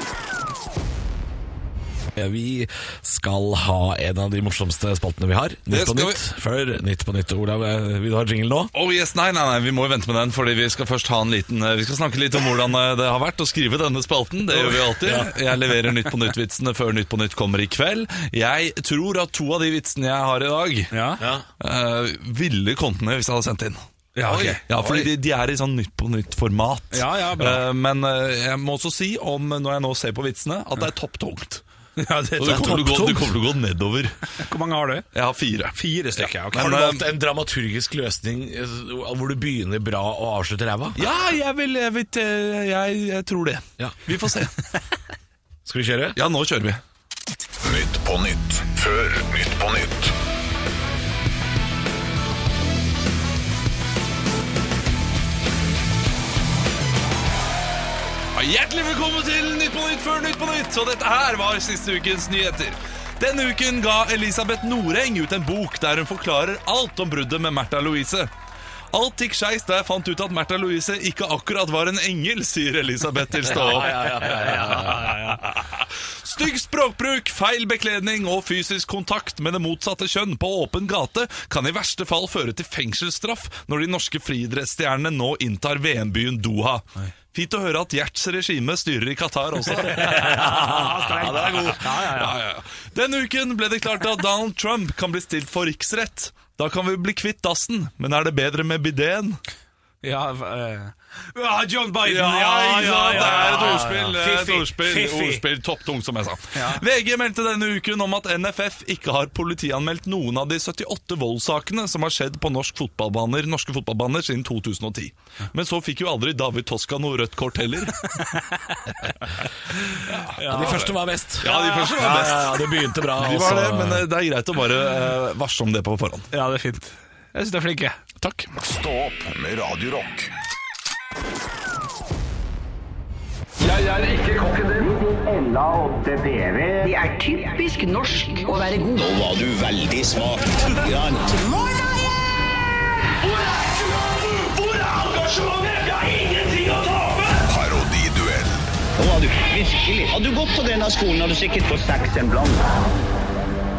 C: Vi skal ha en av de morsomste spaltene vi har. Nytt
E: Det
C: på
E: skal
C: nytt. Før Nytt på nytt. Olav, eh, vil du ha jingle nå?
E: Oh yes, nei, nei, nei, Vi må jo vente med den, Fordi vi skal først ha en liten eh, Vi skal snakke litt om hvordan eh, det har vært å skrive denne spalten. Det gjør vi alltid. Jeg leverer Nytt på nytt-vitsene før Nytt på nytt kommer i kveld. Jeg tror at to av de vitsene jeg har i dag,
D: Ja.
E: eh, ville kommet med hvis jeg hadde sendt inn.
D: Ja, ok.
E: ja fordi de, de er i sånn Nytt på nytt-format.
D: Ja, ja, bra.
E: men eh, jeg må også si, om eh, når jeg nå ser på vitsene, at det er topptungt.
D: Ja, det,
E: Så det kommer, til å gå, det kommer til å gå nedover.
D: Hvor mange har du?
E: Jeg har fire.
D: Fire stykker. ok.
E: Men,
C: har du
E: eh,
C: valgt en dramaturgisk løsning eh, hvor du begynner bra og avslutter ræva?
E: Ja, jeg vil Jeg, vet, eh, jeg, jeg tror det.
C: Ja.
E: Vi får se.
C: Skal vi kjøre?
E: Ja, nå kjører vi.
A: Nytt på nytt før Nytt på nytt.
E: Hjertelig velkommen til Nytt på Nytt før Nytt på Nytt. Og dette her var siste ukens nyheter. Denne uken ga Elisabeth Noreng ut en bok der hun forklarer alt om bruddet med Märtha Louise. Alt gikk skeis da jeg fant ut at Märtha Louise ikke akkurat var en engel, sier Elisabeth til Stå opp. Stygg språkbruk, feil bekledning og fysisk kontakt med det motsatte kjønn på åpen gate kan i verste fall føre til fengselsstraff når de norske friidrettsstjernene nå inntar VM-byen Doha. Fint å høre at Gjerts regime styrer i Qatar også. ja, det er god. Ja, ja, ja. Denne uken ble det klart at Donald Trump kan bli stilt for riksrett. Da kan vi bli kvitt dassen, men er det bedre med bidéen?
H: Ja, eh, ja John Biden!
E: Ja, ja, ja, det er et ordspill.
H: ja.
E: eh, Et
H: Fiffi,
E: ordspill,
H: fiffi.
E: ordspill Topptung, som jeg sa. VG meldte denne uken om at NFF ikke har politianmeldt noen av de 78 voldssakene som har skjedd på norsk fotballbaner, norske fotballbaner siden 2010. Men så fikk jo aldri David Toska noe rødt kort heller.
C: De første var best.
E: Ja, de første var best.
C: Ja, ja, ja, det begynte bra.
E: De
C: og
E: var
C: så-
E: det, men eh, det er greit å bare eh, varsle om det på forhånd.
H: ja, det er fint. Jeg syns de er flinke.
E: Takk.
A: Stå opp med Radio Rock.
I: Jeg er ikke kokken din.
J: Ella og DDV.
K: Det er typisk norsk å være god.
I: Nå var du veldig smak. Tugger han. Hvor er engasjementet? Hvor er engasjementet? Vi har ingenting å tape!
A: Parodiduell.
I: Nå var du virkelig. Hadde du gått på denne skolen, hadde du sikkert fått seks en blant.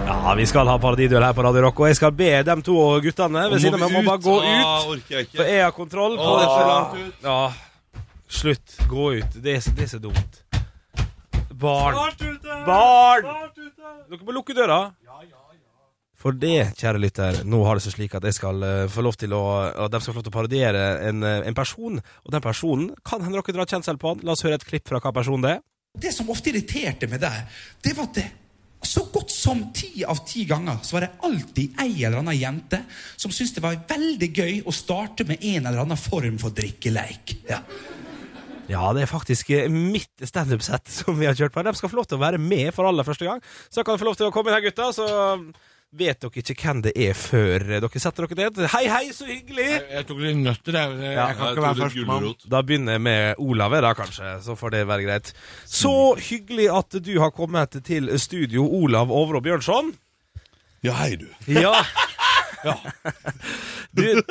D: Ja, vi skal ha paradiduell her på Radio Rock, og jeg skal be dem to guttene ved siden av meg om å bare gå ut. For jeg har kontroll på
E: Åh, det er for langt
D: dette.
E: ut.
D: Ja. Slutt. Gå ut. Det er, så- det er så dumt. Barn. Barn! Dere må lukke døra. For det, kjære lytter, nå har det seg slik at jeg skal eh, få lov til å At de skal få lov til å parodiere en, eh, en person, og den personen kan hende dere drar kjensel på han. La oss høre et klipp fra hva personen det er.
L: Det som ofte irriterte med deg, det var at det, så godt som ti av ti ganger så var det alltid ei eller anna jente som syntes det var veldig gøy å starte med en eller annen form for drikkeleik. Ja.
D: Ja, det er faktisk eh, mitt standup-sett som vi har kjørt på. De skal få lov til å være med for aller første gang. Så dere kan få lov til å komme inn her, gutta. Så eh, vet dere ikke hvem det er før eh, dere setter dere ned. Hei, hei, så hyggelig!
C: Jeg tok litt nøtter, jeg. Jeg kan
E: Jeg
C: ikke
E: tok
C: være
E: litt
C: førstemann.
E: gulrot.
D: Da begynner jeg med Olav, da, kanskje. Så får det være greit. Så
C: Mm.
D: hyggelig at du har kommet til studio, Olav Overå Bjørnson.
E: Ja, hei, du.
D: Ja. Du,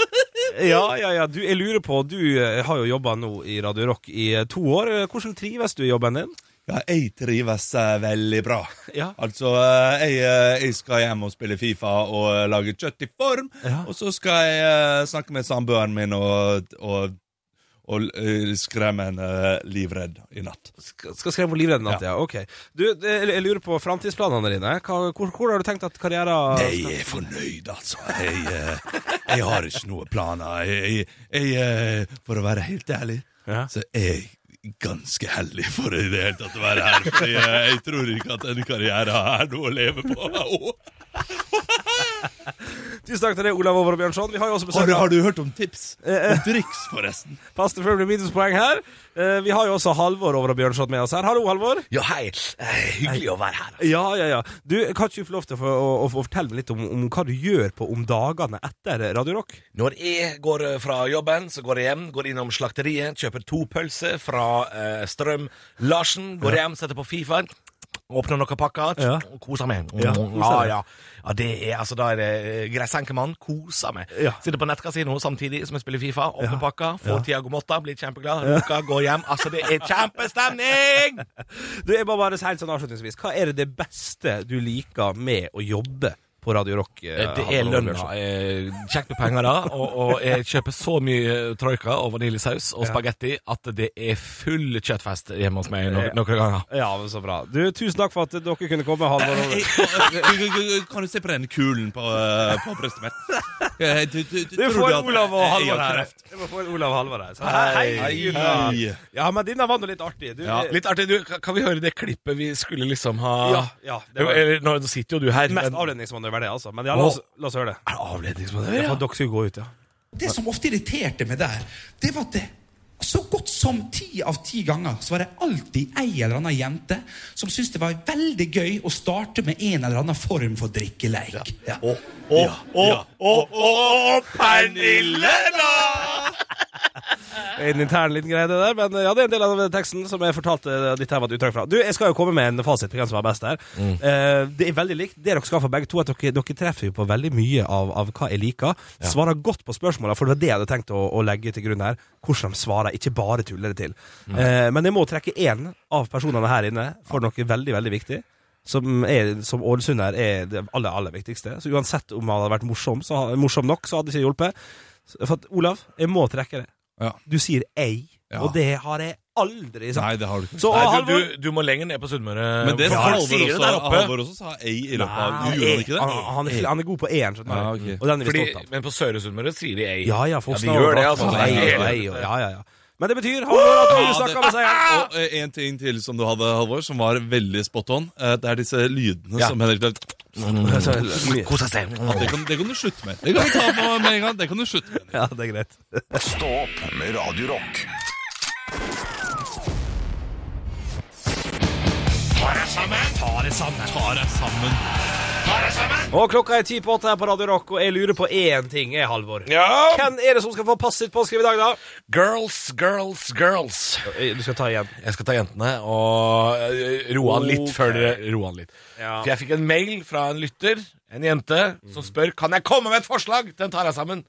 D: ja, ja, ja. Du, jeg lurer på, du eh, har jo jobba nå i Radio Rock i eh, to år. Eh, Hvordan trives du i jobben din?
L: Ja, jeg trives eh, veldig bra.
D: Ja.
L: Altså, jeg, skal hjem og spille Fifa og eh, lage kjøtt i form.
D: Ja. og
L: så skal jeg eh, snakke med samboeren min og, eh, skremme henne eh, livredd i natt.
D: Skal skal skrive på livredden natt, ja. Ok. Du, eh, jeg lurer på framtidsplanene dine. Hva, hvor, hvor har du tenkt at karrieren
L: Jeg er fornøyd, altså. Jeg, eh, jeg har ikke noen planer. Jeg, jeg, jeg, eh, for å være helt ærlig,
D: Ja.
L: så er jeg ganske heldig for i det hele tatt å være her. For jeg, jeg tror ikke at denne karrieren er noe å leve på. Åh.
D: Tusen takk til deg, Olav Over og Bjørnson. Vi har jo også
L: Har,
D: besøk
L: du-
D: av
L: har du hørt om tips? Om triks, forresten.
D: Pass det før det blir minuspoeng her. Eh, Vi har jo også Halvor Over og Bjørnson med oss her. Hallo, Halvor.
J: Ja, hei. Eh, Hyggelig å være her.
D: Ja, ja, ja. Du, kan ikke du få lov til å, få- å, å få fortelle meg litt om, om hva du gjør på om dagene etter Radio Rock?
J: Når jeg går eh, fra jobben, så går jeg hjem, går innom slakteriet, kjøper to pølser fra eh, Strøm Larsen, går hjem, setter på Fifa. Åpner noen pakker
D: Ja.
J: og koser meg.
D: Ja,
J: Ja,
D: koser
J: ja,
D: deg.
J: ja. det er, altså, da er det eh, gressenkemann. Koser meg.
D: Ja.
J: Sitter på nettkasino samtidig som jeg spiller Fifa.
D: Ja.
J: Åpner pakker, får Tiago Motta, blir kjempeglad. Lukker, går hjem. Altså, det er kjempestemning!
D: Du, jeg må bare si helt sånn avslutningsvis. Hva er det beste du liker med å jobbe på Radio Rock? eh,
J: Eh, Det er
D: Halvor Over og
J: lønna.
D: Bjørnson?
J: Eh, Kjekt med penger, da. Og, og jeg kjøper så mye eh, troika og vaniljesaus og spagetti at det er full kjøttfest hjemme hos meg no noen ganger.
D: Ja, men så bra. Du, tusen takk for at dere kunne komme, Halvor. Over-
L: Kan du se på den kulen på, eh, på brystet mitt? Eh, Du, du, du,
D: Du
L: tror
D: får
L: at-
D: Olav og
L: Jeg har
D: Halvor her.
L: kreft.
D: Du får Olav og Halvor her. Så, hei, hei, Gunnar.
L: Hei.
D: Ja, men dine var nå litt artige. Du,
C: Ja. Litt artig, du. Kan kan vi høre det klippet vi skulle liksom ha
D: ja, ja, det var
C: Eller, Nå sitter jo du her.
D: mest
C: men-
D: avledningsmanøver, det, altså. Men ja, la oss, la oss høre det.
J: Er det avledningsmanøver?
D: Ja,
J: Ja.
D: for dere skulle gå ut, ja.
L: Det som ofte irriterte meg der, det var at det, så godt som ti av ti ganger så var det alltid ei eller anna jente som syntes det var veldig gøy å starte med en eller annen form for drikkeleik. Ja.
D: En intern liten greie, det der. Men eh, ja, det er en del av teksten som jeg fortalte dette her var et utdrag fra. Du, jeg skal jo komme med en fasit på hvem som var best her. Eh, det er veldig likt. Det dere skal for begge to, at dere, dere treffer jo på veldig mye av, av hva jeg liker. Svarer godt på spørsmåla, for det var det jeg hadde tenkt å, å legge til grunn her. Hvordan de svarer, ikke bare tuller det til. Eh, men jeg må trekke én av personene her inne for noe veldig, veldig viktig. Som, er, som ålesunder er det aller, aller viktigste. Så uansett om han hadde vært morsom, så, morsom nok, så hadde det ikke hjulpet. Så- For at, Olav, jeg må trekke det.
J: Du sier ei,
C: Ja.
J: og det har jeg aldri sagt.
E: Nei, det har du ikke.
J: Så,
C: Nei,
J: Halvor-
C: du, du, du må lenger ned på Sunnmøre.
E: Men det
C: For
E: sa
C: folk
E: Halvor
C: sier det
E: også-
C: der oppe.
E: Halvor også sa ei i løpet av-
J: Nei,
E: Gjorde han ikke det?
J: Han, han, er, han er god på én, skjønner du.
E: Ja, ok.
J: Og den er vi
C: Fordi,
J: stolt av.
C: men på Søre Sunnmøre sier de ei.
J: Ja, ja, folk
C: de gjør det, altså.
J: Ei,
C: Det er helt-
J: ei, ei, ja, ja, ja. Men det betyr Halvor, at du
E: Ja, det-
J: snakker med seieren.
E: Og eh, en ting til som du hadde, Halvor, som var veldig spot on. eh, Det er disse lydene som Henrik lagde.
C: Kos deg selv.
E: Det kan, det kan du slutte med. Det kan du ta på med en gang. Det kan du slutte med.
J: Ja, det er greit.
A: Stå opp med Radio Rock.
J: Og klokka er ti på åtte her på Radio Rock, og jeg lurer på én ting, jeg, Halvor.
C: Ja.
J: Hvem er det som skal få passet sitt påskrevet i dag, da?
C: Girls, girls, girls.
J: Eh, Du skal ta igjen.
C: Jeg skal ta jentene og eh, roe han litt
J: Ok.
C: før dere roe han litt.
J: Ja.
C: For jeg fikk en mail fra en lytter, en jente, som spør Kan jeg komme med et forslag. Den tar jeg sammen.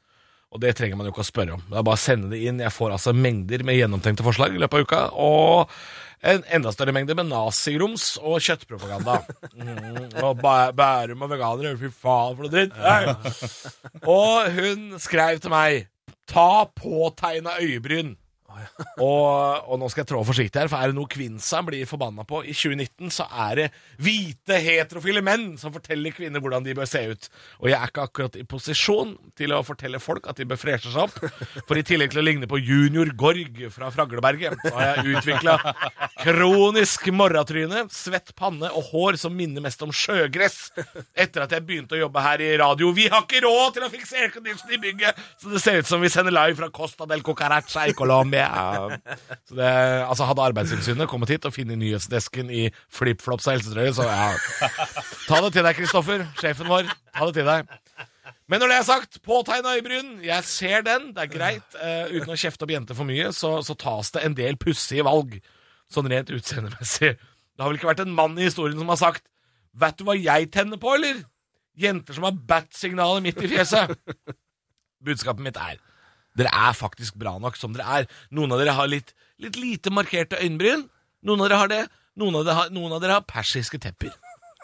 C: Og det trenger man jo ikke å spørre om. Det er bare å sende det inn. Jeg får altså mengder med gjennomtenkte forslag i løpet av uka. Og en enda større mengde med nazigrums og kjøttpropaganda. Mm, og bæ Bærum og veganere. Fy faen, for noe dritt. Nei. Og hun skrev til meg Ta påtegna øyebryn. Og, og nå skal jeg trå forsiktig her, for er det noe Kvinsa blir forbanna på i 2019, så er det hvite, heterofile menn som forteller kvinner hvordan de bør se ut. Og jeg er ikke akkurat i posisjon til å fortelle folk at de bør freshe seg opp, for i tillegg til å ligne på junior Gorg fra Fragleberget, så har jeg utvikla kronisk morratryne, svett panne og hår som minner mest om sjøgress. Etter at jeg begynte å jobbe her i radio. Vi har ikke råd til å fikse aircondition i bygget, så det ser ut som vi sender live fra Costa del Cucaracha i Colombia. Så det, altså Hadde Arbeidstilsynet kommet hit og funnet nyhetsdesken i flipflops og helsetrøye, så ja Ta det til deg, Kristoffer. Sjefen vår. Ta det til deg. Men når det er sagt, påtegn øyebryn. Jeg ser den, det er greit. Eh, uten å kjefte opp jenter for mye, så, så tas det en del pussige valg. Sånn rent utseendemessig. Det har vel ikke vært en mann i historien som har sagt Vet du hva jeg tenner på, eller? Jenter som har bat-signalet midt i fjeset. Budskapet mitt er dere er faktisk bra nok som dere er. Noen av dere har litt, litt lite markerte øyenbryn. Noen av dere har det. Noen av dere har, noen av dere har persiske tepper.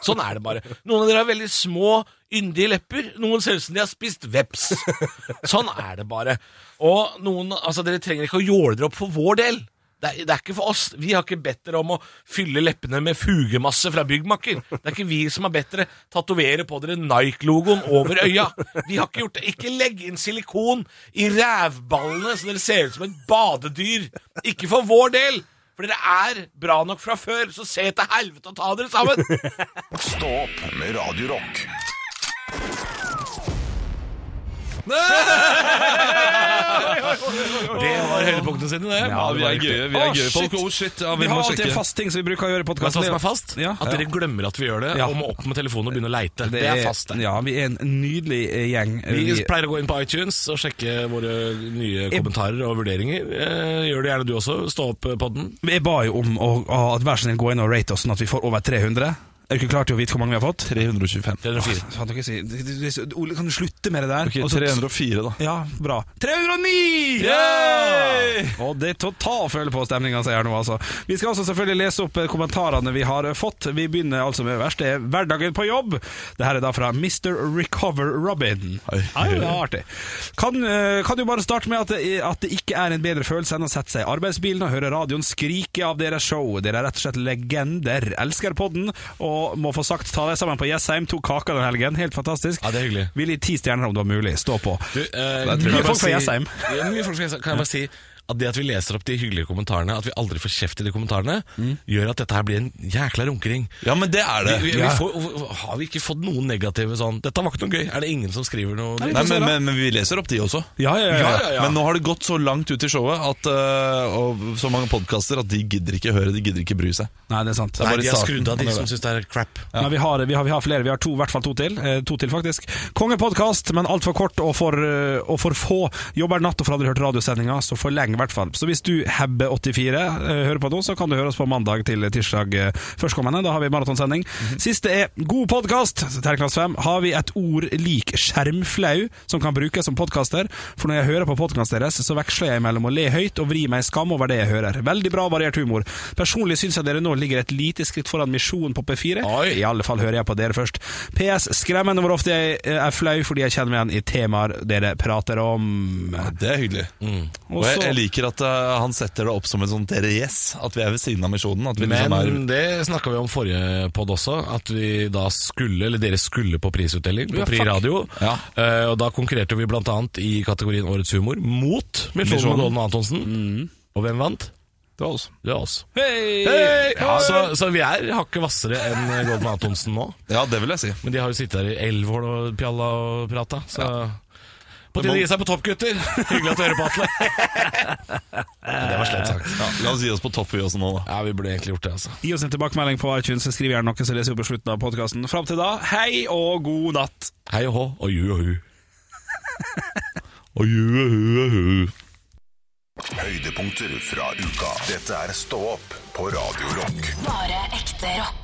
C: Sånn er det bare. Noen av dere har veldig små, yndige lepper. Noen ser ut som de har spist veps. Sånn er det bare. Og noen, altså Dere trenger ikke å jåle dere opp for vår del. Det er, det er ikke for oss. Vi har ikke bedt dere om å fylle leppene med fugemasse fra byggmakker. Det er ikke vi som har bedt dere tatovere på dere Nike-logoen over øya. Vi har ikke gjort det. Ikke legg inn silikon i rævballene så dere ser ut som et badedyr. Ikke for vår del. For dere er bra nok fra før, så se til helvete og ta dere sammen!
A: Stå opp med Radio Rock.
C: Det var høydepunktene sine, det.
E: Ja, vi er gøye. Vi er
D: Å,
E: gøye folk.
D: shit.
E: Oh, shit. Ja,
D: Vi
E: vi,
D: har
E: må
D: alltid en
E: sjekke.
D: fast ting som vi bruker å gjøre i
M: Hva
D: podkasten.
M: som er fast?
D: Ja.
M: At dere glemmer at vi gjør det, og må opp med telefonen og begynne å leite. Det, er fast, det.
D: Ja, vi er en nydelig eh, gjeng.
M: Vi pleier å gå inn på iTunes og sjekke våre nye kommentarer og vurderinger. Eh, Gjør det gjerne du også. Stå opp eh, podden.
D: Jeg ba jo om å, å- at hver sin gå inn og rate oss sånn at vi får over 300. Er du ikke klar til å vite hvor mange vi har fått?
E: 325.
M: 304.
D: Faen, du kan ikke si- du- du- du- Ole, kan du slutte med det der?
E: Ok,
D: Og så-
E: 304, da.
D: Ja, bra. 309!
E: Yay!
D: Og det er total føle på stemninga sier jeg nå, altså. Vi skal også selvfølgelig lese opp eh, kommentarene vi har eh, fått. Vi begynner altså med øverst. Det er hverdagen på jobb. Det her er da fra Mr. Recover Robin.
E: Oi.
D: Ja, det er artig. Kan, eh, kan du bare starte med at det, at det ikke er en bedre følelse enn å sette seg i arbeidsbilen og høre radioen skrike av deres show. Dere er rett og slett legender. Elsker podden og må få sagt ta deg sammen på Jessheim. To kaker den helgen. Helt fantastisk.
M: Ja, det er hyggelig.
D: Vil gi ti stjerner om det var mulig. Stå på.
M: Du, eh,
D: Det er
M: kan jeg
D: mye
M: bare
D: folk fra
M: si-
D: Jessheim.
M: Ja, mye folk fra Jessheim. Kan jeg bare si at det at vi leser opp de hyggelige kommentarene, at vi aldri får kjeft i de kommentarene, gjør at dette her blir en jækla runkering.
E: Ja, men det er Mm. det.
M: Vi, vi, vi får, har vi ikke fått noen negative sånn 'Dette var ikke noe gøy'? Er det ingen som skriver noe?
E: Nei, men, men, men vi leser opp de også.
D: Ja, ja, ja.
M: Ja, ja, ja.
E: Men nå har det gått så langt ut i showet at, eh, og så mange podkaster at de gidder ikke høre, de gidder ikke bry seg.
D: Nei, det er sant.
E: er
M: Nei,
E: bare
M: de har
E: starten.
M: skrudd av de som syns det er crap.
D: Nei, vi, har, vi, har, vi har flere. Vi har to, i hvert fall to til. Eh, to til, faktisk. Kongepodkast, men altfor kort og for, eh, og for få. Jobber natt og får aldri hørt radiosendinga, så forleng i hvert fall. Så hvis du Hebbe84 eh, hører på nå, så kan du høre oss på mandag til tirsdag eh, førstkommende. Da har vi maratonsending.
M: Mhm.
D: Siste er god podkast! Terningkast fem. Har vi et ord lik skjermflau som kan brukes som podkaster? For når jeg hører på podkasten deres, så veksler jeg mellom å le høyt og vri meg i skam over det jeg hører. Veldig bra variert humor. Personlig syns jeg dere nå ligger et lite skritt foran Misjon på P4. I alle fall hører jeg på dere først. PS. Skremmende hvor ofte jeg eh, er flau fordi jeg kjenner meg igjen i temaer dere prater om.
E: Det er hyggelig. Og jeg,
D: Også-
E: jeg liker at eh, han setter det opp som en sånn teries, at vi er ved siden av misjonen. At vi liksom er
C: Men det snakka vi om forrige podd også, at vi da skulle, eller dere skulle på prisutdeling på
E: Ja,
C: Pri
E: fuck.
C: Radio.
E: Ja.
C: Eh, og da konkurrerte vi blant annet i kategorien Årets humor mot Misjonen
E: Misjonen.
C: Golden og Antonsen. Og hvem vant? Mm. Det var oss. Det var oss.
D: Hei!
C: Ja, så, så vi er hakket hvassere enn Golden og Antonsen nå.
E: Ja, det vil jeg si.
C: Men de har jo sittet her i elleve år og pjalla og prata, så På tide å gi seg på topp, gutter! Hyggelig at du hører på, Atle. det var slett sagt.
E: Ja, la oss gi oss på topp, vi også nå, da.
C: Ja, vi burde egentlig gjort det, altså.
D: Gi oss en tilbakemelding på iTunes, så skriv gjerne noe som leser vi opp på slutten av podkasten. Fram til da, hei og god natt!
C: Hei og hå og ju og hu.
E: Og ju, hu, hu.
A: Høydepunkter fra uka. Dette er Stå opp på Radio Rock.
B: Bare ekte rock.